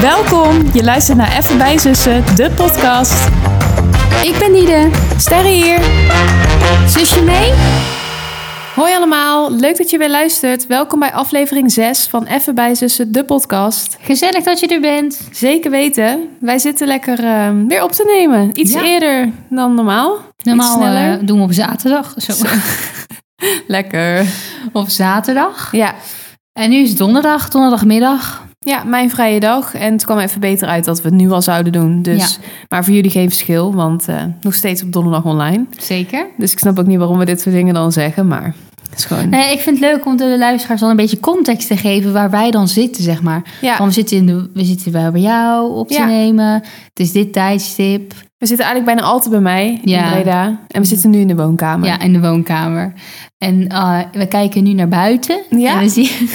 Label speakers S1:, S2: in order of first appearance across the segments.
S1: Welkom, je luistert naar Even bij Zussen, de podcast.
S2: Ik ben Nide.
S1: Sterre hier.
S2: Zusje mee?
S1: Hoi allemaal, leuk dat je weer luistert. Welkom bij aflevering 6 van Even bij Zussen, de podcast.
S2: Gezellig dat je er bent.
S1: Zeker weten, wij zitten lekker eh, weer op te nemen. Iets
S2: Ja.
S1: eerder dan normaal.
S2: Normaal
S1: Iets sneller.
S2: eh, doen we op zaterdag. Zo.
S1: Lekker.
S2: Op zaterdag.
S1: Ja.
S2: En nu is het donderdag, donderdagmiddag.
S1: ja, mijn vrije dag. En het kwam even beter uit dat we het nu al zouden doen. Dus, Maar voor jullie geen verschil, want eh, nog steeds op donderdag online.
S2: Zeker.
S1: Dus ik snap ook niet waarom we dit soort dingen dan zeggen, maar het is gewoon...
S2: Nee, ik vind het leuk om de luisteraars dan een beetje context te geven waar wij dan zitten, zeg maar.
S1: Ja.
S2: Want we zitten, in de, we zitten wel bij jou op te
S1: Ja.
S2: nemen. Het is dit tijdstip.
S1: We zitten eigenlijk bijna altijd bij mij
S2: Ja.
S1: in Breda. En we zitten nu in de woonkamer.
S2: Ja, in de woonkamer. En eh, we kijken nu naar buiten.
S1: Ja.
S2: En we zien...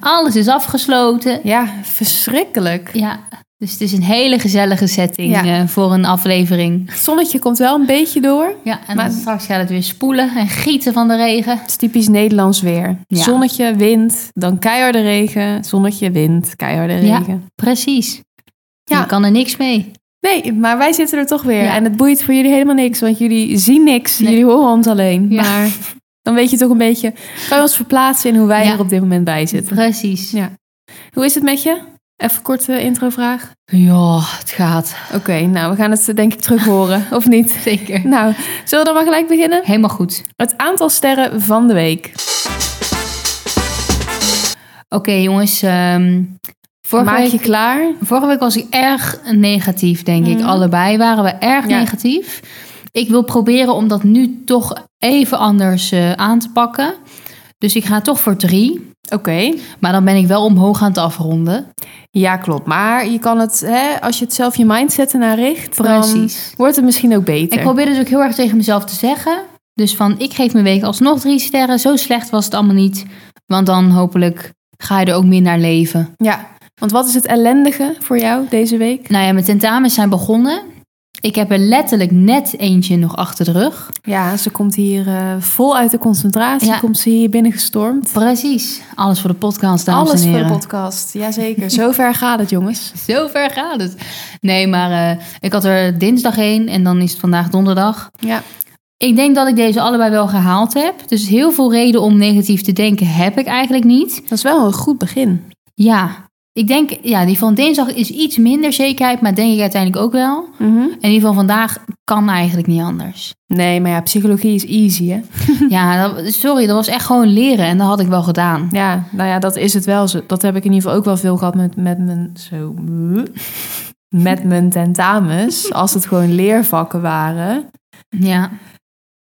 S2: Alles is afgesloten.
S1: Ja, verschrikkelijk.
S2: Ja, dus het is een hele gezellige setting
S1: Ja.
S2: eh, voor een aflevering.
S1: Het zonnetje komt wel een beetje door.
S2: Ja, en
S1: Maar-
S2: dan straks gaat het weer spoelen en gieten van de regen.
S1: Het is typisch Nederlands weer.
S2: Ja.
S1: Zonnetje, wind, dan keiharde regen. Zonnetje, wind, keiharde
S2: Ja.
S1: regen.
S2: Precies.
S1: Ja.
S2: Je kan er niks mee.
S1: Nee, maar wij zitten er toch weer.
S2: Ja.
S1: En het boeit voor jullie helemaal niks, want jullie zien niks.
S2: Nee.
S1: Jullie horen ons alleen.
S2: Ja.
S1: Maar dan weet je toch een beetje... Kan je ons verplaatsen in hoe wij
S2: Ja.
S1: er op dit moment bij zitten.
S2: Precies.
S1: Ja. Hoe is het met je? Even een korte introvraag.
S2: Ja, het gaat.
S1: Oké, nou, we gaan het eh, denk ik terug horen. Of niet?
S2: Zeker.
S1: Nou, zullen we dan maar gelijk beginnen?
S2: Helemaal goed.
S1: Het aantal sterren van de week.
S2: Oké, jongens. ehm, vorige,
S1: Maak je
S2: week,
S1: klaar?
S2: vorige week was ik erg negatief, denk ik.
S1: Mhm.
S2: Allebei waren we erg
S1: Ja.
S2: negatief. Ik wil proberen om dat nu toch even anders eh, aan te pakken. Dus ik ga toch voor drie.
S1: Oké.
S2: Maar dan ben ik wel omhoog aan het afronden.
S1: Ja, klopt. Maar je kan het, hè, als je het zelf je mindset ernaar richt, dan
S2: Precies.
S1: wordt het misschien ook beter.
S2: Ik probeer dus ook heel erg tegen mezelf te zeggen. Dus van, ik geef mijn week alsnog drie sterren. Zo slecht was het allemaal niet. Want dan hopelijk ga je er ook meer naar leven.
S1: Ja, want wat is het ellendige voor jou deze week?
S2: Nou ja, mijn tentamens zijn begonnen. Ik heb er letterlijk net eentje nog achter de rug.
S1: Ja, ze komt hier eh, vol uit de concentratie,
S2: Ja.
S1: komt ze hier binnen gestormd.
S2: Precies. Alles voor de podcast, dames
S1: Alles
S2: en
S1: voor de
S2: heren.
S1: podcast, jazeker. Zover gaat het, jongens.
S2: Zo ver gaat het. Nee, maar eh, ik had er dinsdag heen en dan is het vandaag donderdag.
S1: Ja.
S2: Ik denk dat ik deze allebei wel gehaald heb. Dus heel veel reden om negatief te denken heb ik eigenlijk niet.
S1: Dat is wel een goed begin.
S2: Ja, ik denk, ja, die van dinsdag is iets minder zekerheid, maar denk ik uiteindelijk ook wel.
S1: Mhm.
S2: En die van vandaag kan eigenlijk niet anders.
S1: Nee, maar ja, psychologie is easy, hè?
S2: ja, dat- sorry, dat was echt gewoon leren en dat had ik wel gedaan.
S1: Ja, nou ja, dat is het wel. Zo- Dat heb ik in ieder geval ook wel veel gehad met, met mijn... Zo, met mijn tentamens. Als het gewoon leervakken waren.
S2: Ja.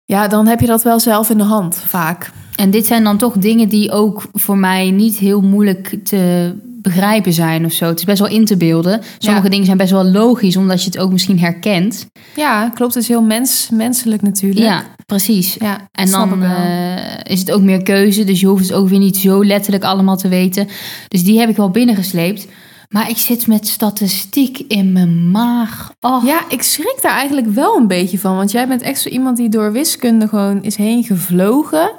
S1: Ja, dan heb je dat wel zelf in de hand, vaak.
S2: En dit zijn dan toch dingen die ook voor mij niet heel moeilijk te begrijpen zijn of zo. Het is best wel in te beelden. Sommige
S1: Ja.
S2: dingen zijn best wel logisch, omdat je het ook misschien herkent.
S1: Ja, klopt. Het is heel mens, menselijk natuurlijk.
S2: Ja, precies.
S1: Ja, dat
S2: En
S1: snap ik
S2: dan
S1: wel.
S2: eh, is het ook meer keuze, dus je hoeft het ook weer niet zo letterlijk allemaal te weten. Dus die heb ik wel binnengesleept. Maar ik zit met statistiek in mijn maag. Och,
S1: Ja, ik schrik daar eigenlijk wel een beetje van. Want jij bent echt zo iemand die door wiskunde gewoon is heen gevlogen.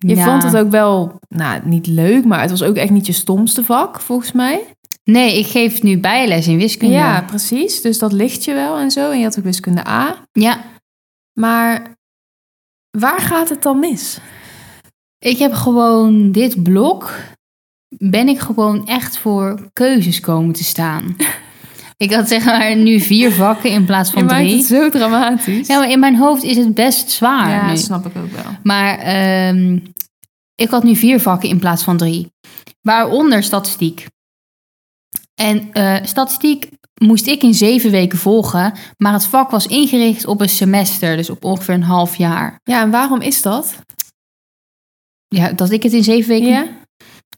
S1: Je
S2: ja.
S1: vond het ook wel, nou, niet leuk, maar het was ook echt niet je stomste vak, volgens mij.
S2: Nee, ik geef nu bijles in wiskunde.
S1: Ja, precies. Dus dat ligt je wel en zo. En je had ook wiskunde A.
S2: ja.
S1: Maar waar gaat het dan mis?
S2: Ik heb gewoon dit blok. Ben ik gewoon echt voor keuzes komen te staan. ik had zeg maar nu vier vakken in plaats van drie.
S1: zo dramatisch.
S2: Ja, maar in mijn hoofd is het best zwaar.
S1: Ja,
S2: nu.
S1: dat snap ik ook wel.
S2: Maar ehm, ik had nu vier vakken in plaats van drie. Waaronder statistiek. En eh, statistiek moest ik in zeven weken volgen. Maar het vak was ingericht op een semester. Dus op ongeveer een half jaar.
S1: Ja, en waarom is dat?
S2: Ja, dat ik het in zeven weken...
S1: ja?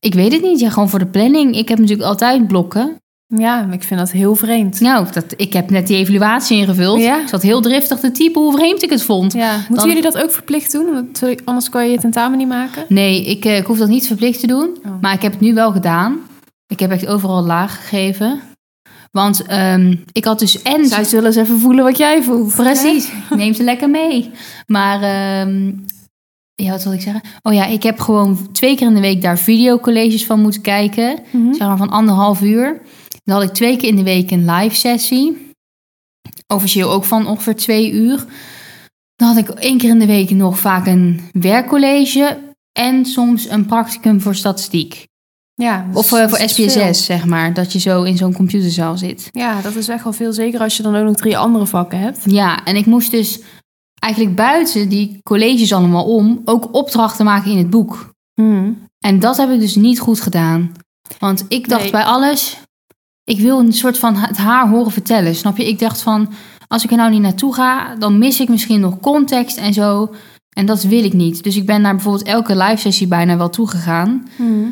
S2: Ik weet het niet. Ja, gewoon voor de planning. Ik heb natuurlijk altijd blokken.
S1: ja, maar ik vind dat heel vreemd.
S2: Nou, dat, ik heb net die evaluatie ingevuld.
S1: Ja.
S2: Ik zat heel driftig te typen hoe vreemd ik het vond.
S1: Ja. Moeten
S2: Dan-
S1: jullie dat ook verplicht doen? Want sorry, anders kan je je tentamen niet maken.
S2: Nee, ik, eh, ik hoef dat niet verplicht te doen.
S1: Oh.
S2: Maar ik heb het nu wel gedaan. Ik heb echt overal laag gegeven. Want ehm, ik had dus en...
S1: Zij zullen eens even voelen wat jij voelt.
S2: Precies, neem ze lekker mee. Maar ehm, ja, wat wil ik zeggen? Oh ja, ik heb gewoon twee keer in de week daar videocolleges van moeten kijken.
S1: Mhm.
S2: Zeg maar van anderhalf uur. Dan had ik twee keer in de week een live sessie. Officieel ook van ongeveer twee uur. Dan had ik één keer in de week nog vaak een werkcollege. En soms een practicum voor statistiek.
S1: Ja, dat
S2: Of
S1: is-
S2: eh, voor
S1: dat is veel.
S2: SPSS, zeg maar. Dat je zo in zo'n computerzaal zit.
S1: Ja, dat is echt wel veel. Zeker als je dan ook nog drie andere vakken hebt.
S2: Ja, en ik moest dus eigenlijk buiten die colleges allemaal om ook opdrachten maken in het boek.
S1: Mhm.
S2: En dat heb ik dus niet goed gedaan. Want ik dacht
S1: Nee.
S2: bij alles, ik wil een soort van het haar horen vertellen, snap je? Ik dacht van, als ik er nou niet naartoe ga, dan mis ik misschien nog context en zo. En dat wil ik niet. Dus ik ben naar bijvoorbeeld elke live sessie bijna wel toegegaan.
S1: Mhm.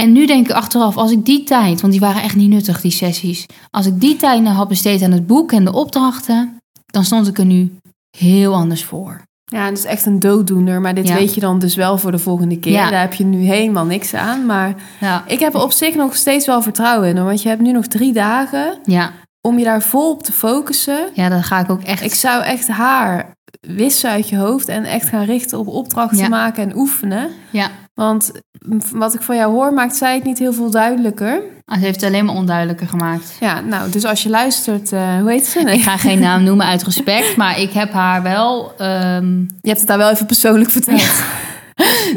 S2: En nu denk ik achteraf, als ik die tijd, want die waren echt niet nuttig, die sessies. Als ik die tijd nou had besteed aan het boek en de opdrachten, dan stond ik er nu heel anders voor.
S1: Ja, het is echt een dooddoener. Maar dit
S2: Ja.
S1: weet je dan dus wel voor de volgende keer.
S2: Ja.
S1: Daar heb je nu helemaal niks aan. Maar
S2: Ja.
S1: ik heb er op zich nog steeds wel vertrouwen in. hoor, Want je hebt nu nog drie dagen
S2: Ja,
S1: om je daar vol op te focussen.
S2: ja dat ga ik ook echt.
S1: Ik zou echt haar wissen uit je hoofd en echt gaan richten op opdrachten
S2: Ja.
S1: maken en oefenen.
S2: ja.
S1: Want mm, wat ik van jou hoor, maakt zij het niet heel veel duidelijker.
S2: Ah, Ze heeft het alleen maar onduidelijker gemaakt.
S1: Ja, nou, dus als je luistert, eh, hoe heet ze? Nee.
S2: Ik ga geen naam noemen uit respect, maar ik heb haar wel. ehm,
S1: Je hebt het daar wel even persoonlijk verteld.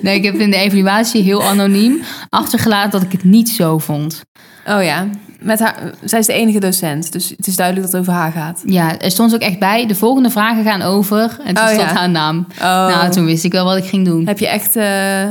S2: nee, ik heb in de evaluatie heel anoniem achtergelaten dat ik het niet zo vond.
S1: Oh ja, met haar, zij is de enige docent, dus het is duidelijk dat het over haar gaat.
S2: Ja, er stond ook echt bij. De volgende vragen gaan over. En toen
S1: Oh, ja.
S2: stond haar naam.
S1: Oh,
S2: Nou, toen wist ik wel wat ik ging doen.
S1: heb je echt... eh,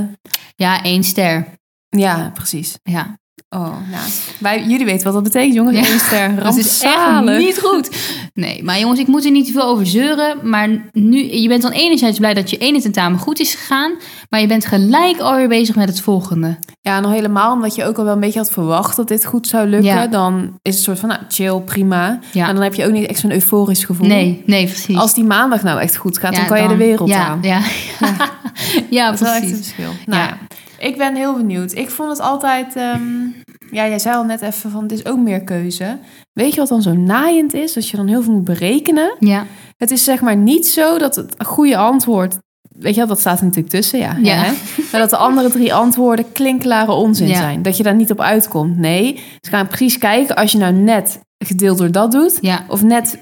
S2: Ja, één ster.
S1: Ja, precies.
S2: Ja,
S1: Oh, nou, wij, jullie weten wat dat betekent, jongens.
S2: Ja.
S1: Eén ster,
S2: dat is echt
S1: rampzalig.
S2: niet goed. Nee, maar jongens, ik moet er niet te veel over zeuren. Maar nu, je bent dan enerzijds blij dat je ene tentamen goed is gegaan. Maar je bent gelijk alweer bezig met het volgende.
S1: Ja, nog helemaal omdat je ook al wel een beetje had verwacht dat dit goed zou lukken.
S2: Ja.
S1: Dan is het soort van, nou, chill, prima.
S2: Ja.
S1: Maar dan heb je ook niet echt zo'n euforisch gevoel.
S2: Nee, nee, precies.
S1: Als die maandag nou echt goed gaat,
S2: Ja,
S1: dan kan je de wereld
S2: ja,
S1: aan.
S2: Ja, ja. ja
S1: Dat is wel echt een
S2: precies.
S1: verschil. Nou,
S2: Ja.
S1: ja. Ik ben heel benieuwd. Ik vond het altijd... ehm, ja, jij zei al net even van, het is ook meer keuze. Weet je wat dan zo naaiend is? Dat je dan heel veel moet berekenen.
S2: Ja,
S1: Het is zeg maar niet zo dat het goede antwoord... Weet je wel, dat staat er natuurlijk tussen, ja.
S2: Ja.
S1: Hè? Maar dat de andere drie antwoorden klinkklare onzin
S2: Ja.
S1: zijn. Dat je daar niet op uitkomt. Nee, ze gaan precies kijken als je nou net gedeeld door dat doet...
S2: ja,
S1: Of net,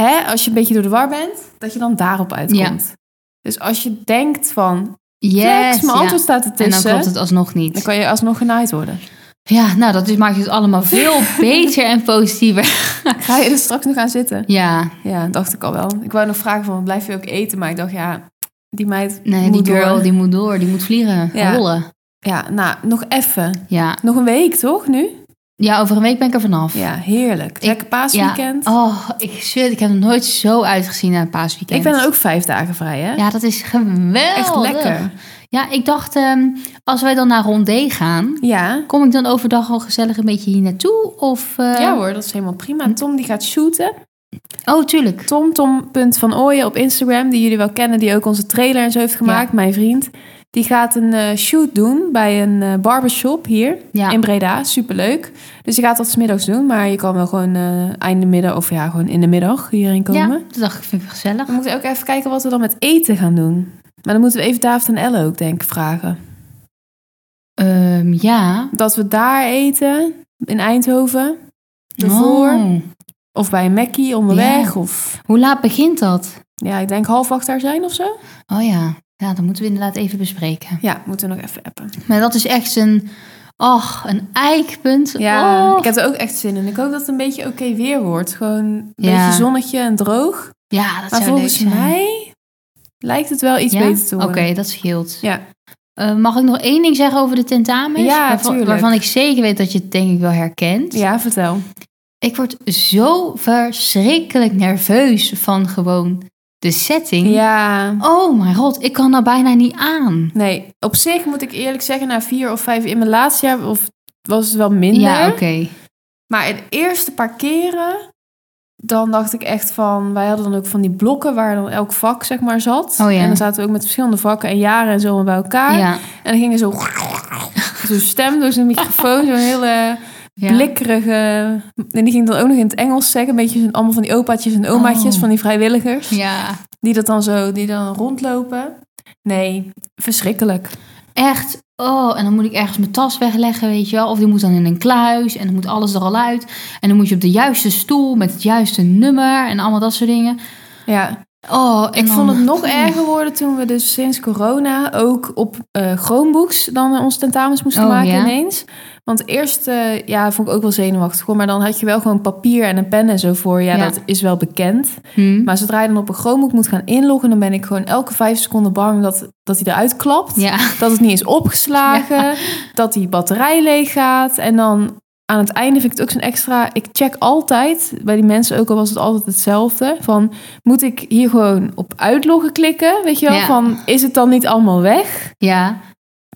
S1: hè, als je een beetje door de war bent, dat je dan daarop uitkomt. Dus als je denkt van, flex,
S2: yes,
S1: mijn
S2: ja.
S1: antwoord staat
S2: En dan
S1: ertussen,
S2: klopt
S1: dan,
S2: het alsnog niet.
S1: kan je alsnog genaaid worden.
S2: Ja, nou, dat is, maakt het allemaal veel beter en positiever.
S1: Ga je er straks nog aan zitten?
S2: Ja,
S1: Ja, dacht ik al wel. Ik wou nog vragen van, blijf je ook eten? Maar ik dacht, ja, die meid
S2: nee,
S1: moet
S2: die girl,
S1: door.
S2: die moet door. Die moet vliegen,
S1: Ja.
S2: rollen.
S1: Ja, nou, nog even.
S2: Ja.
S1: Nog een week, toch, nu?
S2: ja, over een week ben ik er vanaf.
S1: Ja, heerlijk. Lekker paasweekend.
S2: Ja. Oh, ik zweer, ik heb nog nooit zo uitgezien naar een paasweekend.
S1: ik ben dan ook vijf dagen vrij, hè?
S2: Ja, dat is geweldig.
S1: Echt lekker.
S2: Ja, ik dacht, ehm, als wij dan naar Rondé gaan,
S1: Ja.
S2: kom ik dan overdag al gezellig een beetje hier naartoe? Of, eh, hm.
S1: Ja hoor, dat is helemaal prima. Tom die gaat shooten.
S2: Oh, tuurlijk.
S1: Tom, Tom punt van Ooyen op Instagram, die jullie wel kennen, die ook onze trailer en zo heeft gemaakt, mijn vriend. Die gaat een eh, shoot doen bij een eh, barbershop hier
S2: Ja.
S1: in Breda. Superleuk. Dus je gaat dat 's middags doen, maar je kan wel gewoon eh einde middag of ja, gewoon in de middag hierin komen.
S2: Ja, dat dacht ik, vind ik gezellig.
S1: We moeten ook even kijken wat we dan met eten gaan doen. Maar dan moeten we even David en Elle ook denk ik vragen.
S2: Ehm, ja.
S1: Dat we daar eten, in Eindhoven, ervoor.
S2: Oh.
S1: Of bij een Mackie onderweg. Of
S2: Hoe laat begint dat?
S1: ja, ik denk half acht daar zijn of zo.
S2: Oh ja. Ja, dat moeten we inderdaad even bespreken.
S1: Ja, moeten we nog even appen.
S2: Maar dat is echt een, ach, een eikpunt.
S1: Ja,
S2: Och.
S1: ik heb er ook echt zin in. Ik hoop dat het een beetje oké weer wordt. Gewoon een
S2: Ja.
S1: beetje zonnetje en droog.
S2: ja dat
S1: maar
S2: zou leuk
S1: volgens
S2: zijn.
S1: mij lijkt het wel iets
S2: Ja?
S1: beter te
S2: Oké,
S1: worden.
S2: dat scheelt.
S1: Ja.
S2: Eh, mag ik nog één ding zeggen over de tentamens?
S1: Ja,
S2: waarvan,
S1: tuurlijk.
S2: waarvan ik zeker weet dat je het denk ik wel herkent.
S1: Ja, vertel.
S2: Ik word zo verschrikkelijk nerveus van gewoon de setting.
S1: Ja.
S2: Oh mijn god, ik kan daar bijna niet aan.
S1: Nee, op zich moet ik eerlijk zeggen, na vier of vijf in mijn laatste jaar of, was het wel minder.
S2: Ja, oké.
S1: Maar de eerste paar keren, dan dacht ik echt van... Wij hadden dan ook van die blokken waar dan elk vak zeg maar zat.
S2: Oh ja.
S1: En dan zaten we ook met verschillende vakken en jaren en zo bij elkaar.
S2: Ja,
S1: En dan ging er zo... Zo'n stem door zijn microfoon, zo'n hele...
S2: ja.
S1: blikkerige... En die ging dan ook nog in het Engels zeggen. Een beetje zo'n- allemaal van die opaatjes en omaatjes,
S2: Oh.
S1: van die vrijwilligers.
S2: Ja,
S1: Die dat dan zo, die dan rondlopen. Nee, verschrikkelijk.
S2: echt. Oh, en dan moet ik ergens mijn tas wegleggen, weet je wel. Of die moet dan in een kluis en dan moet alles er al uit. En dan moet je op de juiste stoel met het juiste nummer en allemaal dat soort dingen.
S1: Ja,
S2: Oh, en
S1: ik
S2: dan-
S1: vond het nog
S2: Oeh.
S1: erger worden toen we dus sinds corona ook op eh Chromebooks dan eh, ons tentamens moesten
S2: Oh,
S1: maken
S2: ja?
S1: ineens. Want eerst, eh, ja, vond ik ook wel zenuwachtig hoor. Maar dan had je wel gewoon papier en een pen en zo voor. Ja,
S2: Ja.
S1: dat is wel bekend.
S2: Hm.
S1: Maar zodra je dan op een Chromebook moet gaan inloggen, dan ben ik gewoon elke vijf seconden bang dat, dat hij eruit klapt.
S2: Ja,
S1: Dat het niet is opgeslagen. Dat die batterij leeg gaat. En dan aan het einde vind ik het ook zo'n extra... Ik check altijd, bij die mensen ook al was het altijd hetzelfde... van moet ik hier gewoon op uitloggen klikken? Weet je wel,
S2: Ja.
S1: van is het dan niet allemaal weg?
S2: ja.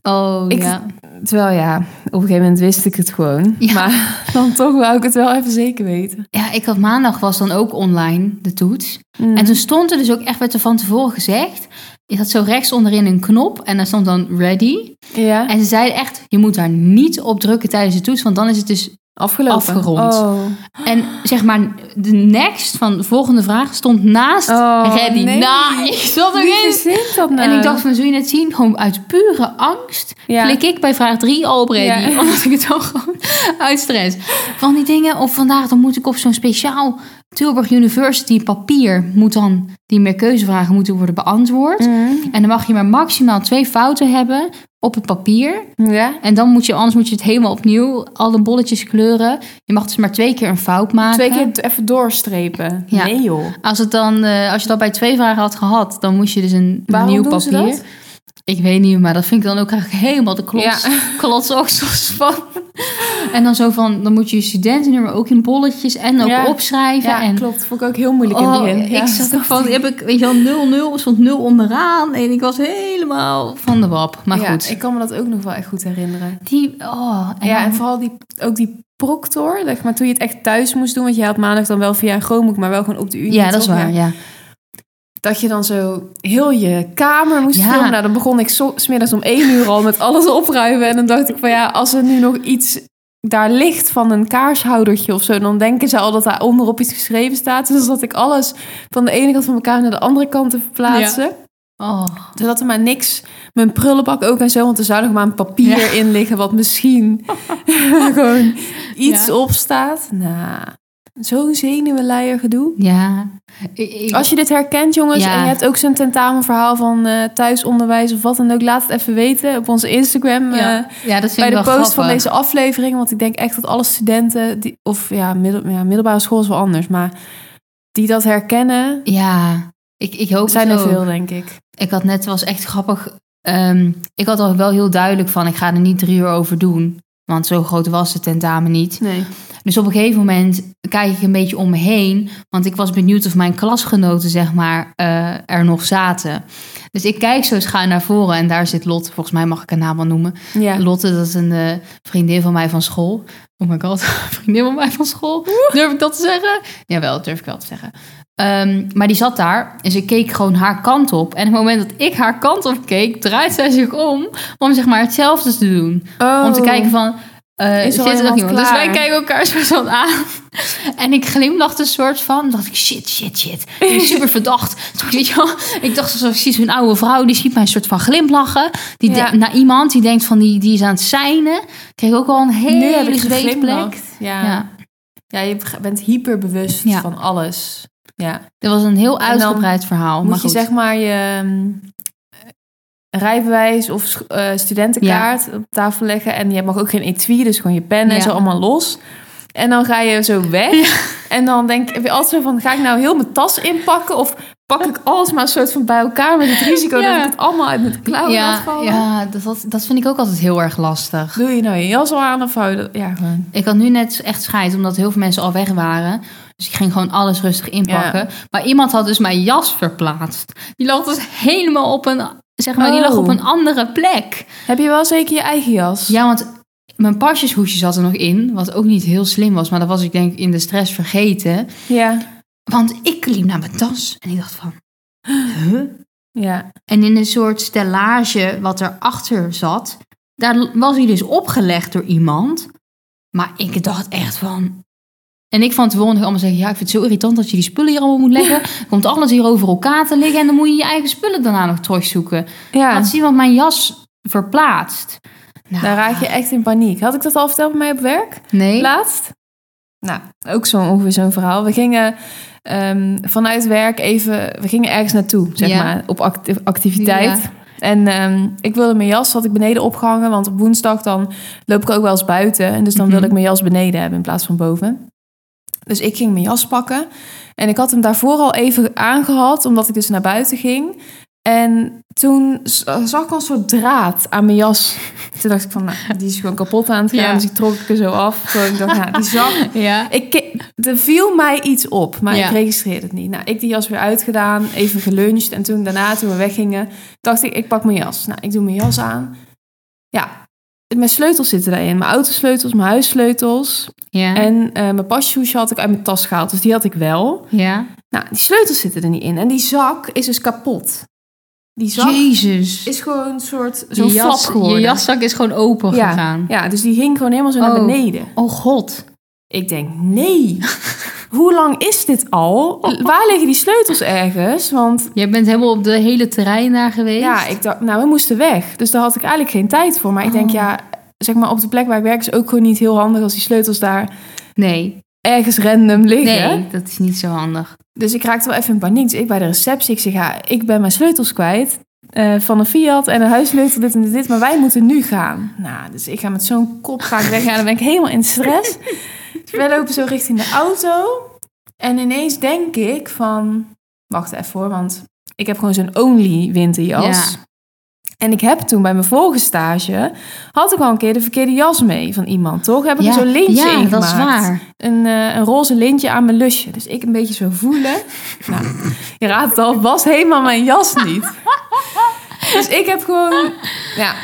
S2: Oh,
S1: Ik-
S2: ja.
S1: Terwijl ja, op een gegeven moment wist ik het gewoon.
S2: Ja.
S1: Maar dan toch wou ik het wel even zeker weten.
S2: Ja, ik had maandag was dan ook online, de toets.
S1: Mm.
S2: En toen stond er dus ook echt, werd er van tevoren gezegd... Je had zo rechts onderin een knop en daar stond dan ready.
S1: ja,
S2: En ze zeiden echt, je moet daar niet op drukken tijdens de toets, want dan is het dus
S1: afgelopen.
S2: afgerond.
S1: Oh.
S2: En zeg maar, de next van de volgende vraag stond naast
S1: Oh,
S2: Ready.
S1: nee.
S2: Nou, ik zat
S1: Wie
S2: erin.
S1: verzint dat nou?
S2: En ik dacht van, zul je net zien? Gewoon uit pure angst
S1: Ja.
S2: klik ik bij vraag 3 al op Ready.
S1: Ja.
S2: Omdat ik het ook gewoon uit stress. Van die dingen, of vandaag dan moet ik op zo'n speciaal Tilburg University papier... moet dan die meerkeuzevragen moeten worden beantwoord.
S1: Mm.
S2: En dan mag je maar maximaal twee fouten hebben op het papier...
S1: Ja,
S2: En dan moet je, anders moet je het helemaal opnieuw, alle bolletjes kleuren. Je mag dus maar twee keer een fout maken.
S1: twee keer even doorstrepen.
S2: Ja.
S1: Nee joh.
S2: Als, het dan, eh, als je dat bij twee vragen had gehad, dan moest je dus een
S1: Waarom
S2: nieuw
S1: doen ze
S2: papier.
S1: dat?
S2: Ik weet niet, maar dat vind ik dan ook eigenlijk helemaal de klots,
S1: Ja.
S2: klotsoksels van. En dan zo van, dan moet je je studentennummer ook in bolletjes en ook
S1: Ja.
S2: opschrijven.
S1: Ja,
S2: en,
S1: klopt. Vond ik ook heel moeilijk in het
S2: Oh,
S1: begin. Ja,
S2: ik zat ook van, heb ik, weet je wel, 0, 0, er stond 0 onderaan. En ik was helemaal van de wap. Maar
S1: Ja,
S2: goed.
S1: ik kan me dat ook nog wel echt goed herinneren.
S2: die, oh, en
S1: ja,
S2: dan-
S1: en vooral die, ook die proctor, zeg maar, toen je het echt thuis moest doen, want je had maandag dan wel via een Chromebook, maar wel gewoon op de unie.
S2: ja dat is
S1: toch?
S2: waar,
S1: Maar
S2: ja.
S1: Dat je dan zo heel je kamer moest
S2: Ja.
S1: filmen. Nou, dan begon ik zo- smiddags om één uur al met alles opruimen. En dan dacht ik van ja, als er nu nog iets daar ligt van een kaarshoudertje of zo, dan denken ze al dat daar onderop iets geschreven staat. Dus dat ik alles van de ene kant van mijn kamer naar de andere kant te verplaatsen.
S2: Oh.
S1: Zodat er maar niks, mijn prullenbak ook en zo, want er zou nog maar een papier
S2: Ja.
S1: in liggen wat misschien gewoon iets
S2: Ja.
S1: op staat. Nou, zo'n zenuwenleier gedoe.
S2: Ja. Ik- ik-
S1: Als je dit herkent, jongens,
S2: Ja.
S1: en je hebt ook zo'n tentamenverhaal van eh, thuisonderwijs of wat dan ook, laat het even weten op onze Instagram. eh,
S2: ja. ja, dat vind
S1: bij
S2: ik
S1: de
S2: wel
S1: post
S2: grappig.
S1: van deze aflevering. Want ik denk echt dat alle studenten, die, of ja, middel, ja, middelbare school is wel anders, maar die dat herkennen,
S2: Ja, ik, ik hoop
S1: zijn
S2: het
S1: er
S2: ook.
S1: veel, denk ik.
S2: Ik had net, het was echt grappig. ehm, ik had al wel heel duidelijk van, ik ga er niet drie uur over doen. Want zo groot was het tentamen niet.
S1: Nee.
S2: Dus op een gegeven moment kijk ik een beetje om me heen. Want ik was benieuwd of mijn klasgenoten, zeg maar, eh, er nog zaten. Dus ik kijk zo schuin naar voren. En daar zit Lotte, volgens mij mag ik haar naam wel noemen.
S1: Ja.
S2: Lotte, dat is een eh, vriendin van mij van school. Oh my god, vriendin van mij van school. Durf ik dat te zeggen? Jawel, dat durf ik wel te zeggen. Ehm, maar die zat daar en ze keek gewoon haar kant op. En op het moment dat ik haar kant op keek, draait zij zich om om zeg maar hetzelfde te doen. Om te
S1: Oh.
S2: kijken van, eh
S1: Is er
S2: zit
S1: al
S2: er nog
S1: iemand
S2: iemand? Dus wij
S1: klaar?
S2: kijken elkaar zo van aan. En ik glimlachte een soort van, dacht ik, shit, shit, shit. Ik ben super verdacht. Toen, weet je wel, ik dacht, zo, ik zie zo'n oude vrouw, die ziet mij een soort van glimlachen. Die
S1: Ja.
S2: de- naar iemand die denkt van, die, die is aan het seinen. Ik kreeg ook al een
S1: Nu heb
S2: hele
S1: ik
S2: zweetplek.
S1: geglimlacht. dus Ja. ja.
S2: Ja,
S1: je beg- bent hyperbewust
S2: Ja.
S1: van alles. Ja.
S2: dat was een heel
S1: dan
S2: uitgebreid verhaal.
S1: Moet
S2: maar
S1: je
S2: goed.
S1: zeg maar je mm, rijbewijs of sch- eh, studentenkaart op tafel leggen. En je mag ook geen etui, dus gewoon je pen en
S2: Ja.
S1: zo allemaal los. En dan ga je zo weg. En dan denk heb je altijd zo van, ga ik nou heel mijn tas inpakken? Of pak ik alles maar een soort van bij elkaar met het risico
S2: Ja.
S1: dat ik het allemaal uit mijn klauwen laat
S2: ja,
S1: vallen?
S2: ja dat, dat, dat vind ik ook altijd heel erg lastig.
S1: Doe je nou je jas al aan of hou je dat- Ja, gewoon.
S2: Ik had nu net echt scheid, omdat heel veel mensen al weg waren. Dus ik ging gewoon alles rustig inpakken. Maar iemand had dus mijn jas verplaatst. Die lag dus helemaal op een, zeg maar, die lag
S1: Oh.
S2: op een andere plek.
S1: Heb je wel zeker je eigen jas?
S2: Ja, want mijn pasjeshoesje zat er nog in, wat ook niet heel slim was. Maar dat was ik denk ik in de stress vergeten.
S1: Ja.
S2: Want ik liep naar mijn tas en ik dacht van... Huh?
S1: ja.
S2: En in een soort stellage wat erachter zat, daar was hij dus opgelegd door iemand. Maar ik dacht echt van. En ik van tevoren nog allemaal zeggen: Ja, ik vind het zo irritant dat je die spullen hier allemaal moet leggen. Er komt alles hier over elkaar te liggen en dan moet je je eigen spullen daarna nog terugzoeken.
S1: ja.
S2: Laat zien, want mijn jas verplaatst. Nou,
S1: Daar raak je echt in paniek. Had ik dat al verteld bij mij op werk?
S2: Nee.
S1: Laatst? Nou, ook zo ongeveer zo'n verhaal. We gingen ehm, vanuit werk even... We gingen ergens naartoe, zeg
S2: Ja.
S1: maar, op acti- activiteit. En ehm, ik wilde mijn jas, had ik beneden opgehangen. Want op woensdag dan loop ik ook wel eens buiten. En dus dan
S2: Mhm.
S1: wilde ik mijn jas beneden hebben in plaats van boven. Dus ik ging mijn jas pakken. En ik had hem daarvoor al even aangehad, omdat ik dus naar buiten ging. En toen z- zag ik al een soort draad aan mijn jas. Toen dacht ik van, nou, die is gewoon kapot aan het gaan.
S2: Ja.
S1: Dus ik trok ik er zo af. Toen ik dacht, nou, die zak.
S2: Ja.
S1: Ik, ke- er viel mij iets op, maar
S2: Ja.
S1: ik registreerde het niet. Nou, ik die jas weer uitgedaan, even geluncht. En toen daarna, toen we weggingen, dacht ik, ik pak mijn jas. Nou, ik doe mijn jas aan. Ja, mijn sleutels zitten daarin. Mijn autosleutels, mijn huissleutels.
S2: Ja.
S1: En eh, mijn pasjeshoesje had ik uit mijn tas gehaald. Dus die had ik wel.
S2: ja.
S1: Nou, die sleutels zitten er niet in. En die zak is dus kapot. Die zak
S2: Jezus.
S1: is gewoon een soort
S2: Je
S1: zo'n flap
S2: jas,
S1: geworden.
S2: je jaszak is gewoon open
S1: Ja.
S2: gegaan.
S1: Ja, dus die ging gewoon helemaal zo naar
S2: Oh.
S1: beneden.
S2: Oh god.
S1: Ik denk, nee, hoe lang is dit al? Waar liggen die sleutels ergens? Want
S2: Jij bent helemaal op de hele terrein daar geweest.
S1: ja, ik dacht, nou, we moesten weg. Dus daar had ik eigenlijk geen tijd voor. Maar ik denk,
S2: Oh.
S1: ja, zeg maar, op de plek waar ik werk is ook gewoon niet heel handig als die sleutels daar
S2: Nee.
S1: ergens random liggen.
S2: Nee, dat is niet zo handig.
S1: Dus ik raakte wel even in paniek. Dus ik bij de receptie, ik zeg, ja, ik ben mijn sleutels kwijt. eh, van een Fiat en een huissleutel, dit en dit. Maar wij moeten nu gaan. Nou, dus ik ga met zo'n kop ga ik weggaan. Dan ben ik helemaal in stress. Dus wij lopen zo richting de auto. En ineens denk ik van... Wacht even hoor, want ik heb gewoon zo'n only winterjas.
S2: Ja.
S1: En ik heb toen bij mijn vorige stage... had ik al een keer de verkeerde jas mee van iemand, toch? Heb ik
S2: ja.
S1: er zo'n lintje in
S2: ja,
S1: gemaakt
S2: dat is waar.
S1: een, eh, een roze lintje aan mijn lusje. Dus ik een beetje zo voelen. Nou, je raadt het al, was helemaal mijn jas niet. Dus ik heb gewoon... Ja.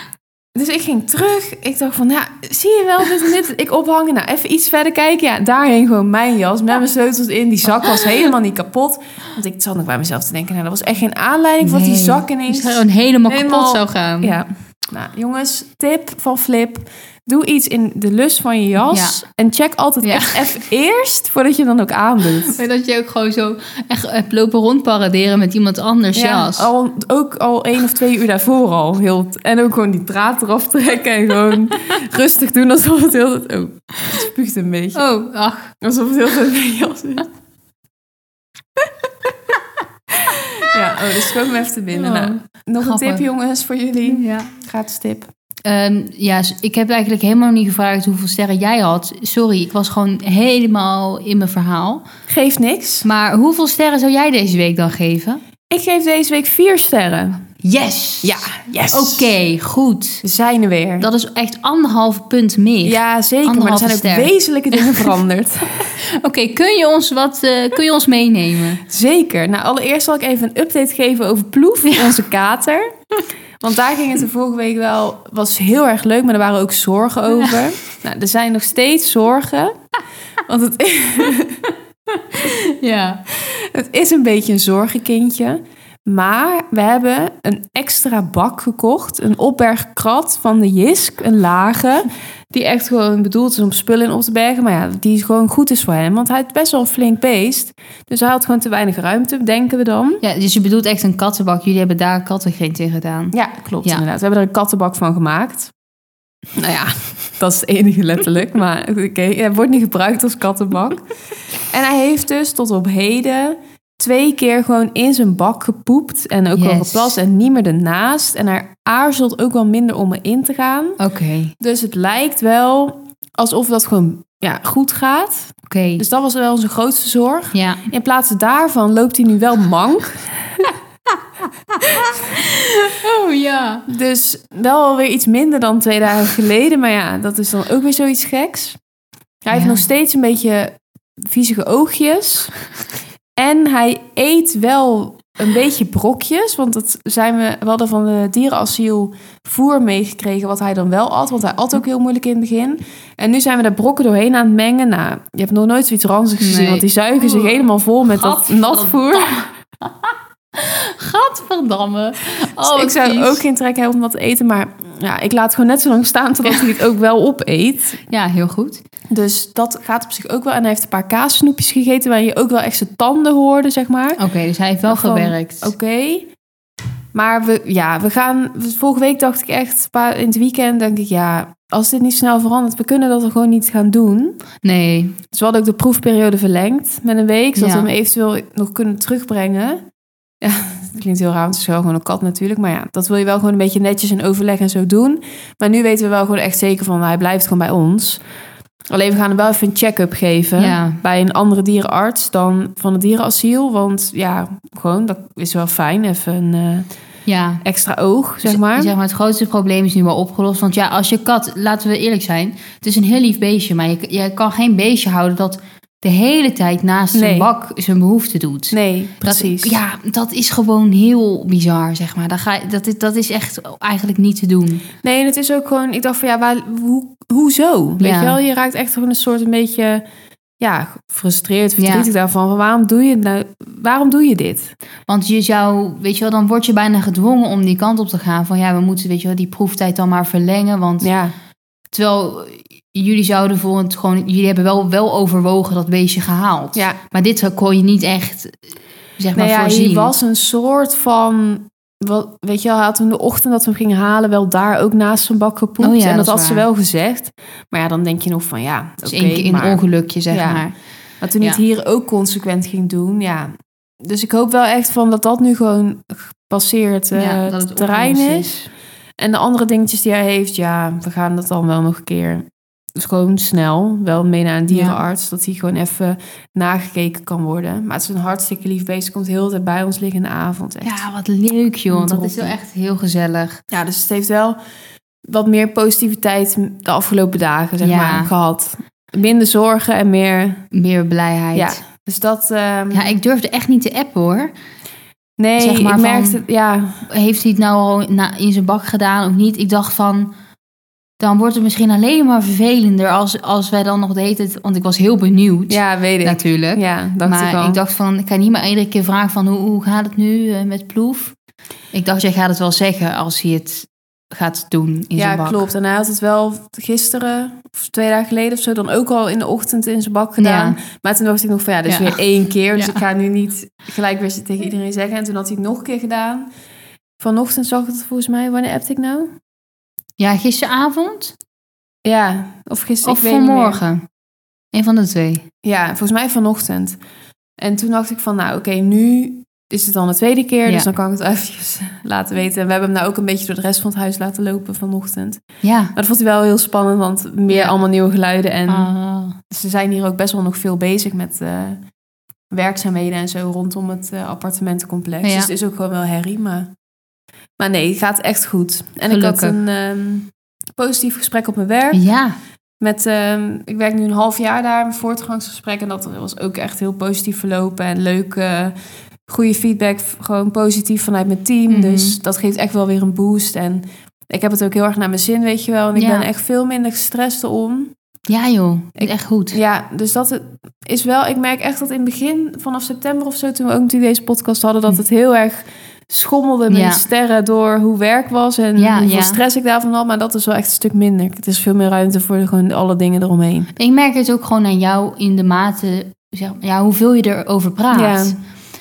S1: Dus ik ging terug. Ik dacht van, ja, zie je wel dit en dit? Ik ophangen. Nou, even iets verder kijken. Ja, daarheen gewoon mijn jas met mijn sleutels in. Die zak was helemaal niet kapot. Want ik zat nog bij mezelf te denken, nou, dat was echt geen aanleiding voor dat die
S2: Nee.
S1: zak ineens...
S2: Dus gewoon helemaal,
S1: Helemaal-
S2: kapot zou gaan.
S1: Ja. Nou, jongens, tip van Flip. Doe iets in de lus van je jas. En check altijd
S2: Ja.
S1: echt even eerst voordat je dan ook aandoet.
S2: Maar dat je ook gewoon zo echt hebt lopen rondparaderen met iemand anders jas.
S1: al, ook al één of twee uur daarvoor al. Heel, en ook gewoon die draad eraf trekken. En gewoon rustig doen alsof het heel... Oh, het spuugt een beetje.
S2: Oh, ach.
S1: Alsof het heel veel mijn jas is. ja, oh, dus kom even te binnen.
S2: Oh,
S1: Nou, Mm. nog een
S2: grappig.
S1: tip jongens voor jullie.
S2: Ja.
S1: Gratis tip.
S2: Ehm, ja, s- ik heb eigenlijk helemaal niet gevraagd hoeveel sterren jij had. Sorry, ik was gewoon helemaal in mijn verhaal.
S1: Geeft niks.
S2: Maar hoeveel sterren zou jij deze week dan geven?
S1: Ik geef deze week vier sterren.
S2: Yes!
S1: Ja, yes.
S2: Oké, goed.
S1: We zijn er weer.
S2: Dat is echt anderhalf punt meer.
S1: ja, zeker. Maar er
S2: Anderhalve
S1: zijn ook
S2: ster.
S1: wezenlijke dingen veranderd.
S2: Oké, kun je ons wat eh, kun je ons meenemen?
S1: zeker. Nou, allereerst zal ik even een update geven over Ploef, onze kater. Want daar ging het de vorige week wel... was heel erg leuk, maar er waren ook zorgen over. Nou, er zijn nog steeds zorgen. Want het
S2: Ja.
S1: Het is een beetje een zorgenkindje. Maar we hebben een extra bak gekocht. Een opbergkrat van de Jisk. Een lage. Die echt gewoon bedoeld is om spullen in op te bergen. Maar ja, die gewoon goed is voor hem. Want hij is best wel een flink beest. Dus hij had gewoon te weinig ruimte, denken we dan.
S2: ja. Dus je bedoelt echt een kattenbak. Jullie hebben daar kattengrint in gedaan.
S1: Ja, klopt
S2: Ja.
S1: inderdaad. We hebben er een kattenbak van gemaakt. Nou ja, dat is het enige letterlijk. Maar oké, hij wordt niet gebruikt als kattenbak. En hij heeft dus tot op heden twee keer gewoon in zijn bak gepoept. En ook wel
S2: Yes.
S1: geplast en niet meer ernaast. En hij aarzelt ook wel minder om erin te gaan.
S2: Oké. Oké.
S1: Dus het lijkt wel alsof dat gewoon ja, goed gaat. Dus dat was wel onze grootste zorg.
S2: Ja.
S1: In plaats daarvan loopt hij nu wel mank.
S2: Oh ja.
S1: Dus wel weer iets minder dan twee dagen geleden. Maar ja, dat is dan ook weer zoiets geks. Hij heeft
S2: Ja.
S1: nog steeds een beetje viezige oogjes. En hij eet wel een beetje brokjes. Want dat zijn we, we hadden van de dierenasiel voer meegekregen wat hij dan wel at. Want hij at ook heel moeilijk in het begin. En nu zijn we daar brokken doorheen aan het mengen. Nou, je hebt nog nooit zoiets ranzigs gezien.
S2: Nee.
S1: Want die zuigen zich
S2: Oeh.
S1: helemaal vol met dat
S2: Gadverdamme.
S1: nat voer.
S2: Gadverdamme.
S1: Dus
S2: Oh,
S1: ik zou
S2: vies.
S1: ook geen trek hebben om dat te eten. Maar ja, ik laat het gewoon net zo lang staan totdat hij het ook wel opeet.
S2: Ja, heel goed.
S1: Dus dat gaat op zich ook wel. En hij heeft een paar kaassnoepjes Oh, gegeten waar je ook wel echt zijn tanden hoorde, zeg maar.
S2: Oké, dus hij heeft wel
S1: Gewoon,
S2: gewerkt.
S1: Oké. Maar we, ja, we gaan. Vorige week dacht ik echt, een paar- in het weekend denk ik, ja, als dit niet snel verandert, we kunnen dat er gewoon niet gaan doen.
S2: Nee,
S1: Dus we hadden ook de proefperiode verlengd met een week, zodat
S2: Ja.
S1: we hem eventueel nog kunnen terugbrengen. Ja, het klinkt heel raar, want het is wel gewoon een kat natuurlijk. Maar ja, dat wil je wel gewoon een beetje netjes in overleg en zo doen. Maar nu weten we wel gewoon echt zeker van, hij blijft gewoon bij ons. Alleen we gaan hem wel even een check-up geven
S2: Ja.
S1: bij een andere dierenarts dan van het dierenasiel. Want ja, gewoon, dat is wel fijn. Even een eh,
S2: ja.
S1: extra oog, zeg maar.
S2: Zeg maar. Het grootste probleem is nu wel opgelost. Want ja, als je kat, laten we eerlijk zijn, het is een heel lief beestje. Maar je, je kan geen beestje houden dat de hele tijd naast zijn
S1: Nee.
S2: bak zijn behoefte doet.
S1: Nee,
S2: Dat-
S1: precies.
S2: ja, dat is gewoon heel bizar, zeg maar. Dat, ga, je- dat, is- dat is echt eigenlijk niet te doen.
S1: Nee, en het is ook gewoon, ik dacht van ja, waar, hoe, hoezo? Weet
S2: Ja.
S1: je wel, je raakt echt gewoon een soort een beetje, ja, gefrustreerd,
S2: Ja.
S1: verdrietig daarvan. Van waarom doe je nou, waarom doe je dit?
S2: Want je zou, weet je wel, dan word je bijna gedwongen om die kant op te gaan. Van ja, we moeten, weet je wel, die proeftijd dan maar verlengen. Want
S1: Ja,
S2: terwijl eh, jullie zouden volgend gewoon, jullie hebben wel, wel overwogen dat beestje gehaald.
S1: ja.
S2: Maar dit kon je niet echt, zeg maar,
S1: Nou ja,
S2: voorzien.
S1: hij was een soort van, wel, weet je wel, hij had toen de ochtend dat we hem gingen halen wel daar ook naast zijn bak gepoept.
S2: Oh ja,
S1: en
S2: dat
S1: dat,
S2: is
S1: had ze
S2: waar.
S1: wel gezegd. Maar ja, dan denk je nog van ja,
S2: dus
S1: oké,
S2: één keer in
S1: maar,
S2: een ongelukje, zeg
S1: Ja.
S2: maar.
S1: maar toen hij het hier ook consequent ging doen, ja. Dus ik hoop wel echt van dat dat nu gewoon gepasseerd eh
S2: Ja, dat het
S1: terrein
S2: opgelost
S1: is. En de andere dingetjes die hij heeft, ja, we gaan dat dan wel nog een keer. Dus gewoon snel, wel mee naar een dierenarts, dat hij gewoon even nagekeken kan worden. Maar het is een hartstikke lief beest, komt heel de tijd bij ons liggen in de avond. Echt.
S2: Ja, wat leuk, joh. Dat is
S1: Droppie.
S2: wel echt heel gezellig.
S1: Ja, dus het heeft wel wat meer positiviteit de afgelopen dagen, zeg
S2: Ja.
S1: maar, gehad. Minder zorgen en meer.
S2: Meer blijheid.
S1: Ja. Dus dat. ehm,
S2: Ja, ik durfde echt niet te appen hoor.
S1: nee,
S2: zeg maar
S1: ik
S2: van-
S1: merkte. Ja,
S2: Heeft hij het nou al na- in zijn bak gedaan of niet? Ik dacht van, dan wordt het misschien alleen maar vervelender als, als wij dan nog de hele tijd... Want ik was heel benieuwd,
S1: ja weet ik.
S2: natuurlijk.
S1: ja, dacht
S2: maar
S1: ik al.
S2: dacht van, ik kan niet meer iedere keer vragen van, hoe, hoe gaat het nu eh, met Ploef? Ik dacht, jij gaat het wel zeggen als hij het gaat doen in
S1: ja,
S2: zijn bak.
S1: klopt. En hij had het wel gisteren of twee dagen geleden of zo dan ook al in de ochtend in zijn bak gedaan. Maar toen dacht ik nog van ja, dat is
S2: Ja.
S1: weer één keer. Dus
S2: Ja.
S1: ik ga nu niet gelijk weer tegen iedereen zeggen. En toen had hij het nog een keer gedaan. Vanochtend zag ik het volgens mij. Wanneer appte ik nou?
S2: Ja, gisteravond
S1: Ja, of gisteren.
S2: of
S1: Dus ik weet niet meer.
S2: vanmorgen? Een van de twee.
S1: Ja, volgens mij vanochtend. En toen dacht ik van, nou oké, nu is het dan de tweede keer.
S2: Ja.
S1: Dus dan kan ik het eventjes laten weten. En we hebben hem nou ook een beetje door de rest van het huis laten lopen vanochtend.
S2: Ja.
S1: Maar dat vond hij wel heel spannend, want meer
S2: Ja.
S1: allemaal nieuwe geluiden. En
S2: Ah.
S1: ze zijn hier ook best wel nog veel bezig met eh, werkzaamheden en zo rondom het eh, appartementencomplex.
S2: Ja.
S1: Dus het is ook gewoon wel herrie, maar... Maar nee, het gaat echt goed. En ik had
S2: Gelukkig.
S1: een ehm, positief gesprek op mijn werk.
S2: ja.
S1: Met, ehm, ik werk nu een half jaar daar, een voortgangsgesprek. En dat was ook echt heel positief verlopen. En leuk, eh, goede feedback, f- gewoon positief vanuit mijn team.
S2: Mhm.
S1: Dus dat geeft echt wel weer een boost. En ik heb het ook heel erg naar mijn zin, weet je wel. En ik
S2: Ja.
S1: ben echt veel minder gestrest om.
S2: Ja joh,
S1: Ik-
S2: echt goed.
S1: Ja, dus dat het- is wel... Ik merk echt dat in het begin, vanaf september of zo... toen we ook natuurlijk deze podcast hadden... dat het heel erg schommelde met
S2: Hm. Ja.
S1: die sterren door hoe werk was... en
S2: Ja,
S1: hoeveel
S2: ja.
S1: stress ik daarvan had. Maar dat is wel echt een stuk minder. Het is veel meer ruimte voor de- gewoon alle dingen eromheen.
S2: Ik merk het ook gewoon aan jou in de mate, zeg, ja, hoeveel je erover praat.
S1: Ja.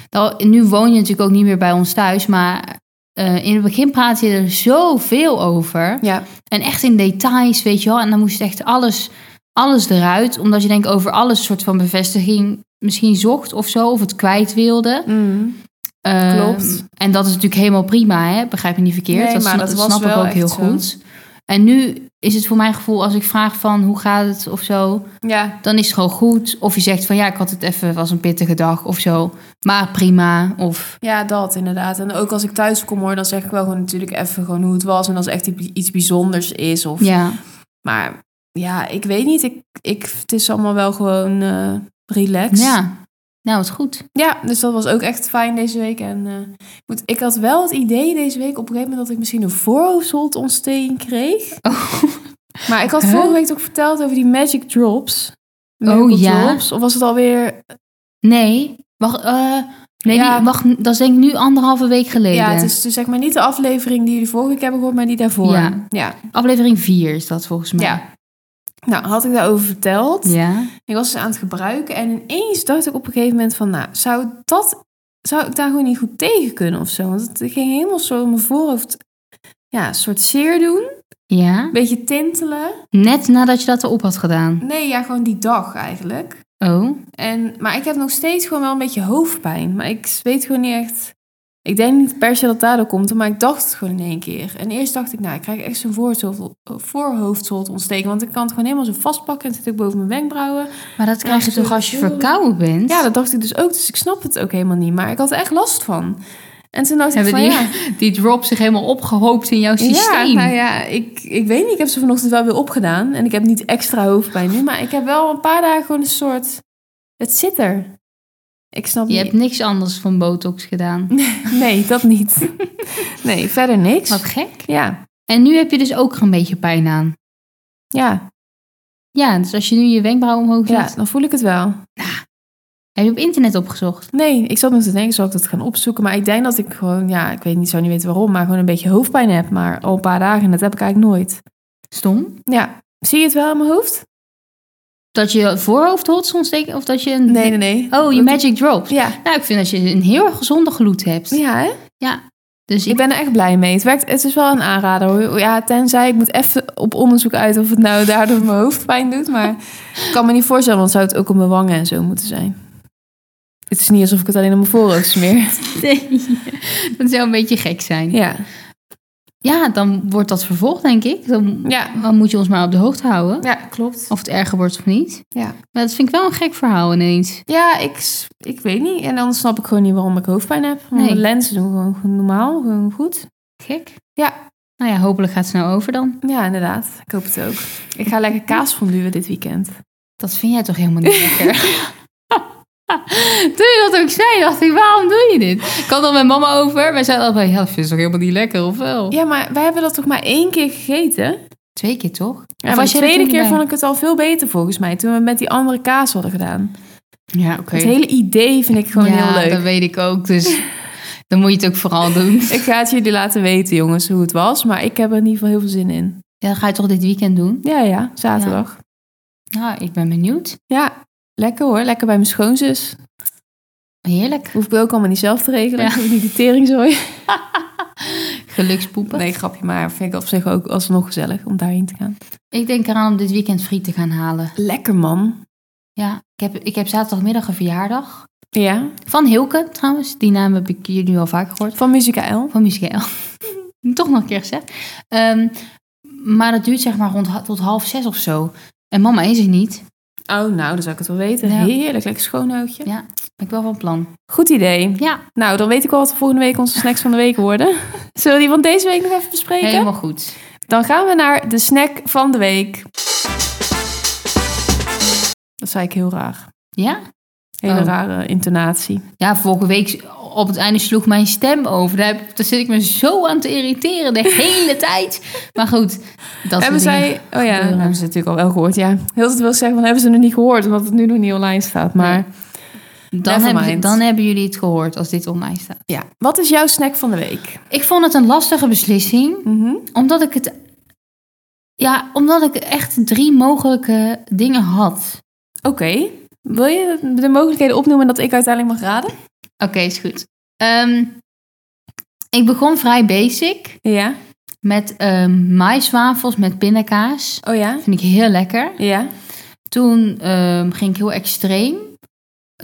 S2: Dat, nu woon je natuurlijk ook niet meer bij ons thuis, maar eh, in het begin praat je er zoveel over.
S1: Ja,
S2: En echt in details, weet je wel. En dan moest echt alles, alles eruit, omdat je denk ik over alles soort van bevestiging misschien zocht of zo, of het kwijt wilde.
S1: Mm.
S2: Ehm,
S1: Klopt.
S2: En dat is natuurlijk helemaal prima, hè? begrijp me niet verkeerd.
S1: Nee,
S2: dat
S1: maar
S2: sna-
S1: dat
S2: dat
S1: was
S2: snap ik
S1: wel
S2: ook
S1: echt
S2: heel
S1: zo.
S2: goed. En nu is het voor mijn gevoel, als ik vraag van hoe gaat het of zo,
S1: Ja,
S2: dan is het gewoon goed. Of je zegt van ja, ik had het even, was een pittige dag of zo. Maar prima. Of
S1: ja, dat inderdaad. En ook als ik thuis kom hoor, dan zeg ik wel gewoon natuurlijk even gewoon hoe het was. En als er echt iets bijzonders is. Of,
S2: ja,
S1: Maar ja, ik weet niet. Ik, ik, het is allemaal wel gewoon eh relaxed.
S2: ja. Nou, het is goed.
S1: Ja, dus dat was ook echt fijn deze week. En eh, ik moet, ik had wel het idee deze week op een gegeven moment dat ik misschien een voorhoofdholtontsteking kreeg. Maar ik had
S2: Huh?
S1: vorige week ook verteld over die magic drops. Miracle
S2: Oh, ja.
S1: Drops. Of was het alweer...
S2: Nee, wacht, eh, nee
S1: Ja.
S2: die- wacht, dat is denk ik nu anderhalve week geleden.
S1: Ja, het is dus zeg maar niet de aflevering die jullie vorige week hebben gehoord, maar die daarvoor.
S2: Ja.
S1: ja.
S2: Aflevering 4 is dat volgens mij.
S1: Ja. Nou, had ik daarover verteld. dus
S2: Ja.
S1: Ik was ze aan het gebruiken en ineens dacht ik op een gegeven moment van, nou, zou dat zou ik daar gewoon niet goed tegen kunnen of zo. Want het ging helemaal zo in mijn voorhoofd. Ja, een soort zeer doen.
S2: Ja?
S1: Een beetje tintelen.
S2: Net nadat je dat erop had gedaan.
S1: Nee, ja, gewoon die dag eigenlijk.
S2: Oh,
S1: En, maar ik heb nog steeds gewoon wel een beetje hoofdpijn. Maar ik weet gewoon niet echt... Ik denk niet per se dat het daardoor komt, maar ik dacht het gewoon in één keer. En eerst dacht ik, nou, ik krijg echt zo'n voorhoofd- voorhoofdzoltontsteking. Want ik kan het gewoon helemaal zo vastpakken en het zit ook boven mijn wenkbrauwen.
S2: maar dat krijg je
S1: als je
S2: toch als je
S1: dat wil-
S2: verkouden bent?
S1: Ja, dat dacht ik dus ook. Dus ik snap het ook helemaal niet. Maar ik had er echt last van. En toen dacht
S2: Hebben
S1: ik van,
S2: die,
S1: ja...
S2: die drop zich helemaal opgehoopt in jouw systeem?
S1: Ja, nou ja, ik, ik weet niet. Ik heb ze vanochtend wel weer opgedaan. En ik heb niet extra hoofdpijn nu. Maar ik heb wel een paar dagen gewoon een soort... Het zit er. Ik snap
S2: Je
S1: niet.
S2: hebt niks anders van botox gedaan.
S1: Nee, dat niet. Nee, verder niks.
S2: Wat gek.
S1: Ja,
S2: En nu heb je dus ook er een beetje pijn aan.
S1: ja,
S2: Ja, dus als je nu je wenkbrauw omhoog zet,
S1: ja, dan voel ik het wel.
S2: heb je op internet opgezocht.
S1: Nee, ik zat nog te denken, zal ik dat gaan opzoeken? Maar ik denk dat ik gewoon, ja, ik weet niet, zou niet weten waarom, maar gewoon een beetje hoofdpijn heb. Maar al een paar dagen, en dat heb ik eigenlijk nooit.
S2: Stom.
S1: Ja, zie je het wel in mijn hoofd?
S2: Dat je voorhoofd hot ontsteken of dat je een...
S1: Nee, nee, nee.
S2: Oh, je
S1: Dat-
S2: magic drops.
S1: Ja,
S2: Nou, ik vind dat je een heel erg gezonde gloed hebt.
S1: ja, hè?
S2: Dus
S1: Ik
S2: ik,
S1: ben er echt blij mee. Het werkt, het is wel een aanrader. hoor. Ja, tenzij ik moet even op onderzoek uit of het nou daardoor mijn hoofdpijn doet. Maar ik kan me niet voorstellen, want zou het ook op mijn wangen en zo moeten zijn. Het is niet alsof ik het alleen op mijn voorhoofd smeer.
S2: nee, dat zou een beetje gek zijn.
S1: Ja,
S2: Ja, dan wordt dat vervolgd, denk ik. Dan,
S1: ja.
S2: dan moet je ons maar op de hoogte houden.
S1: ja klopt.
S2: Of het erger wordt of niet.
S1: Ja.
S2: Maar dat vind ik wel een gek verhaal ineens.
S1: Ja, ik, s- ik weet niet. En dan snap ik gewoon niet waarom ik hoofdpijn heb. Want
S2: Nee.
S1: de lenzen doen gewoon goed- normaal, gewoon goed.
S2: Gek.
S1: Ja.
S2: Nou ja, hopelijk gaat het nou over dan.
S1: Ja, inderdaad. Ik hoop het ook. Ik ga lekker kaas fonduwen dit weekend.
S2: Dat vind jij toch helemaal niet lekker? Toen je dat ook zei, dacht ik, waarom doe je dit? Ik had al met mama over. Wij zeiden allebei, ja, dat vind je toch helemaal niet lekker, of wel?
S1: Ja, maar wij hebben dat toch maar één keer gegeten?
S2: Twee keer toch?
S1: Ja, maar
S2: was
S1: de
S2: jij er
S1: tweede
S2: toen
S1: keer
S2: bij?
S1: vond ik het al veel beter volgens mij. Toen we met die andere kaas hadden gedaan.
S2: Ja, oké.
S1: Het hele idee vind ik gewoon
S2: ja,
S1: heel
S2: dat
S1: leuk.
S2: weet ik ook. Dus dan moet je het ook vooral doen.
S1: Ik ga het jullie laten weten, jongens, hoe het was. Maar ik heb er in ieder geval heel veel zin in.
S2: Ja, dat ga je toch dit weekend doen?
S1: Ja, ja, zaterdag. Ja,
S2: Nou, ik ben benieuwd.
S1: lekker hoor. Lekker bij mijn schoonzus.
S2: Heerlijk.
S1: Hoef ik ook allemaal niet zelf te regelen.
S2: Ja.
S1: Ik hoef niet die teringzooi.
S2: Gelukspoepen.
S1: Nee, grapje, maar vind ik op zich ook alsnog gezellig om daarheen te gaan.
S2: Ik denk eraan om dit weekend friet te gaan halen.
S1: Lekker man.
S2: Ja, ik heb, ik heb zaterdagmiddag een verjaardag.
S1: Ja,
S2: Van Hilke trouwens. Die naam heb ik jullie al vaak gehoord.
S1: van Musica L.
S2: Van Michiel. Toch nog een keer gezegd. Ehm, maar dat duurt zeg maar rond ha- tot half zes of zo. En mama is er niet.
S1: Oh, nou, dan zou ik het wel weten.
S2: Ja.
S1: Heerlijk, lekker schoonhoutje.
S2: Ja. Ben ik wel van plan.
S1: Goed idee.
S2: Ja,
S1: Nou, dan weet ik al wat volgende week onze snacks van de week worden. Zullen we die van deze week nog even bespreken?
S2: helemaal goed.
S1: Dan gaan we naar de snack van de week. Dat zei ik heel raar.
S2: Ja?
S1: Hele
S2: Oh.
S1: rare intonatie.
S2: Ja, vorige week op het einde sloeg mijn stem over. Daar, heb- daar zit ik me zo aan te irriteren de hele tijd. Maar goed, dat
S1: hebben
S2: soort dingen.
S1: zij... Oh ja,
S2: gebeuren.
S1: hebben ze natuurlijk al wel gehoord, ja. Heel veel wil zeggen, van hebben ze nog niet gehoord, omdat het nu nog niet online staat. Maar
S2: Dan,
S1: Never
S2: hebben,
S1: mind.
S2: dan hebben jullie het gehoord als dit online staat.
S1: ja, wat is jouw snack van de week?
S2: Ik vond het een lastige beslissing,
S1: Mhm.
S2: omdat ik het. Ja, omdat ik echt drie mogelijke dingen had.
S1: Oké. Wil je de mogelijkheden opnoemen dat ik uiteindelijk mag raden?
S2: Oké, is goed. Ehm, ik begon vrij basic
S1: Ja.
S2: met ehm maiswafels met pindakaas.
S1: Oh ja?
S2: Vind ik heel lekker.
S1: Ja.
S2: Toen ehm, ging ik heel extreem.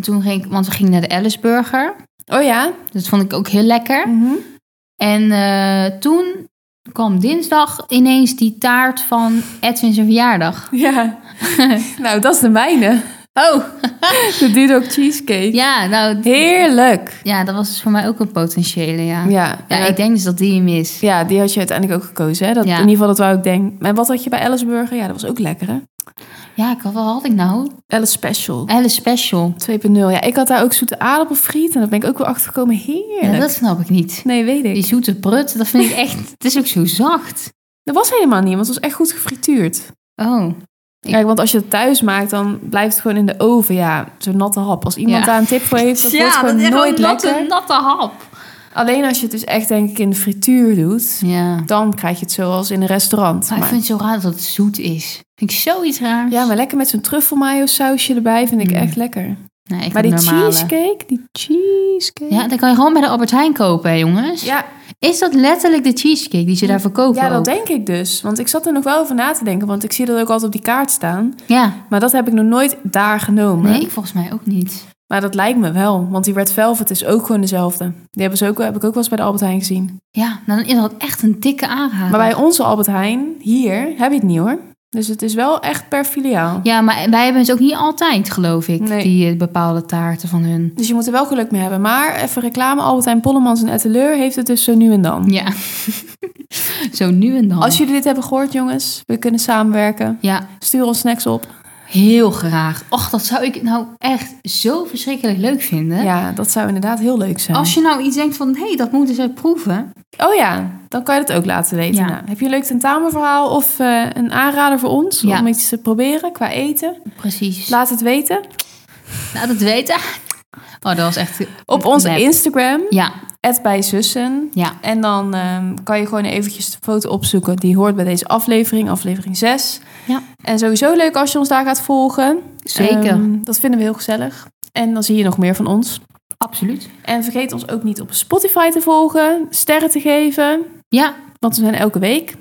S2: Toen ging ik, want we gingen naar de Ellisburger.
S1: Oh ja?
S2: Dat vond ik ook heel lekker.
S1: Mhm.
S2: En eh, toen kwam dinsdag ineens die taart van Edwin zijn verjaardag.
S1: Ja. nou, dat is de mijne.
S2: Oh,
S1: De Dudok cheesecake.
S2: ja, nou, d-
S1: Heerlijk.
S2: ja, dat was dus voor mij ook een potentiële, ja. Ja,
S1: Ja. En
S2: ik denk dus dat die hem is.
S1: Ja, die had je uiteindelijk ook gekozen. Hè? Dat,
S2: Ja.
S1: In ieder geval, dat wou ik denk. En wat had je bij Ellisburger? Ja, dat was ook lekker, hè?
S2: Ja, ik had, wat had ik nou?
S1: Alice Special.
S2: Alice Special.
S1: 2.0. Ja, ik had daar ook zoete aardappelfriet. En daar ben ik ook wel achter gekomen. Heerlijk.
S2: Ja, dat snap ik niet.
S1: Nee, weet
S2: Die
S1: ik.
S2: zoete prut, dat vind ik echt... het is ook zo zacht.
S1: Dat was helemaal niet, want het was echt goed gefrituurd.
S2: Oh, Ik-
S1: Kijk, want als je het thuis maakt, dan blijft het gewoon in de oven. Ja, zo'n natte hap. Als iemand
S2: Ja.
S1: daar een tip voor heeft, dat wordt gewoon nooit
S2: natte,
S1: lekker.
S2: natte hap.
S1: Alleen als je het dus echt, denk ik, in de frituur doet,
S2: Ja.
S1: dan krijg je het zoals in een restaurant.
S2: Maar Ah, ik vind het zo raar dat het zoet is. Vind ik zoiets raars.
S1: Ja, maar lekker met zo'n truffelmayo sausje erbij vind ik
S2: Mm.
S1: echt lekker.
S2: Nee, ik
S1: Maar
S2: had
S1: die
S2: normale.
S1: cheesecake, die cheesecake.
S2: Ja, dat kan je gewoon bij de Albert Heijn kopen, hè, jongens.
S1: ja,
S2: Is dat letterlijk de cheesecake die ze daar verkopen?
S1: ja, dat
S2: ook?
S1: denk ik dus. Want ik zat er nog wel over na te denken, want ik zie dat ook altijd op die kaart staan.
S2: Ja.
S1: Maar dat heb ik nog nooit daar genomen.
S2: Nee, volgens mij ook niet.
S1: Maar dat lijkt me wel, want die Red Velvet is ook gewoon dezelfde. Die hebben ze ook, heb ik ook wel eens bij de Albert Heijn gezien.
S2: Ja, dan is dat echt een dikke aanrader.
S1: Maar bij onze Albert Heijn, hier, heb je het niet hoor. Dus het is wel echt per filiaal.
S2: Ja, maar wij hebben ze ook niet altijd, geloof ik,
S1: Nee.
S2: die eh, bepaalde taarten van hun.
S1: Dus je moet er wel geluk mee hebben. Maar even reclame, Albert Heijn Pollemans en Etteleur heeft het dus zo nu en dan.
S2: Ja. Zo nu en dan.
S1: Als jullie dit hebben gehoord jongens, we kunnen samenwerken.
S2: Ja,
S1: Stuur ons snacks op.
S2: heel graag. Och, dat zou ik nou echt zo verschrikkelijk leuk vinden.
S1: Ja, dat zou inderdaad heel leuk zijn.
S2: Als je nou iets denkt van, hé, hey, dat moeten ze proeven.
S1: Oh ja, dan kan je dat ook laten weten.
S2: Ja.
S1: Nou, heb je een leuk tentamenverhaal of eh, een aanrader voor ons
S2: Ja.
S1: om iets te proberen qua eten?
S2: Precies.
S1: Laat het weten
S2: Nou, Laat het weten. Oh, dat was echt...
S1: op onze
S2: Nep.
S1: Instagram,
S2: Ja,
S1: @bijzussen.
S2: ja.
S1: En dan ehm, kan je gewoon eventjes de foto opzoeken. Die hoort bij deze aflevering, aflevering 6.
S2: Ja.
S1: En sowieso leuk als je ons daar gaat volgen.
S2: Zeker.
S1: Ehm, dat vinden we heel gezellig. En dan zie je nog meer van ons.
S2: Absoluut.
S1: En vergeet ons ook niet op Spotify te volgen. Sterren te geven.
S2: Ja,
S1: Want we zijn elke week.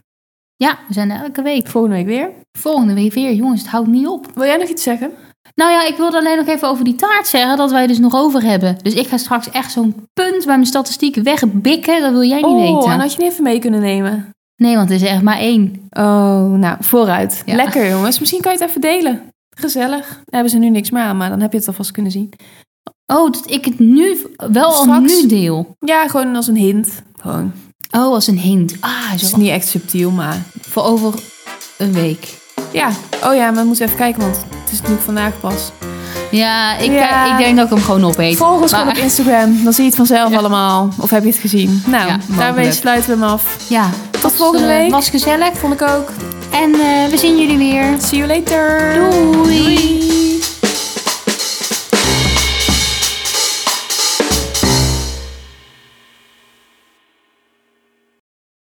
S2: ja, we zijn er elke week.
S1: Volgende week weer.
S2: Volgende week weer, jongens, het houdt niet op.
S1: Wil jij nog iets zeggen?
S2: Nou ja, ik wilde alleen nog even over die taart zeggen, dat wij dus nog over hebben. Dus ik ga straks echt zo'n punt bij mijn statistieken wegbikken, dat wil jij niet
S1: oh,
S2: weten.
S1: en had je niet even mee kunnen nemen?
S2: Nee, want er is er echt maar één.
S1: Oh, nou, vooruit.
S2: Ja.
S1: Lekker jongens. Misschien kan je het even delen. Gezellig. Daar hebben ze nu niks meer aan, maar dan heb je het alvast kunnen zien.
S2: Oh, dat ik het nu wel al
S1: Straks.
S2: nu deel.
S1: Ja, gewoon als een hint. Gewoon.
S2: Oh, als een hint. Ah,
S1: Het is
S2: zo
S1: niet echt subtiel, maar...
S2: voor over een week.
S1: Ja, oh ja, maar we moeten even kijken, want het is natuurlijk vandaag pas.
S2: Ja, ik, eh,
S1: Ja.
S2: ik denk dat ik hem gewoon opeet.
S1: Volg ons gewoon
S2: Maar-
S1: op Instagram, dan zie je het vanzelf allemaal. Of heb je het gezien? Nou,
S2: Ja,
S1: daarmee
S2: mogelijk.
S1: sluiten we hem af.
S2: Ja,
S1: Tot volgende
S2: eh,
S1: week.
S2: was gezellig.
S1: Vond ik ook.
S2: En eh, we zien jullie weer.
S1: See you later.
S2: Doei.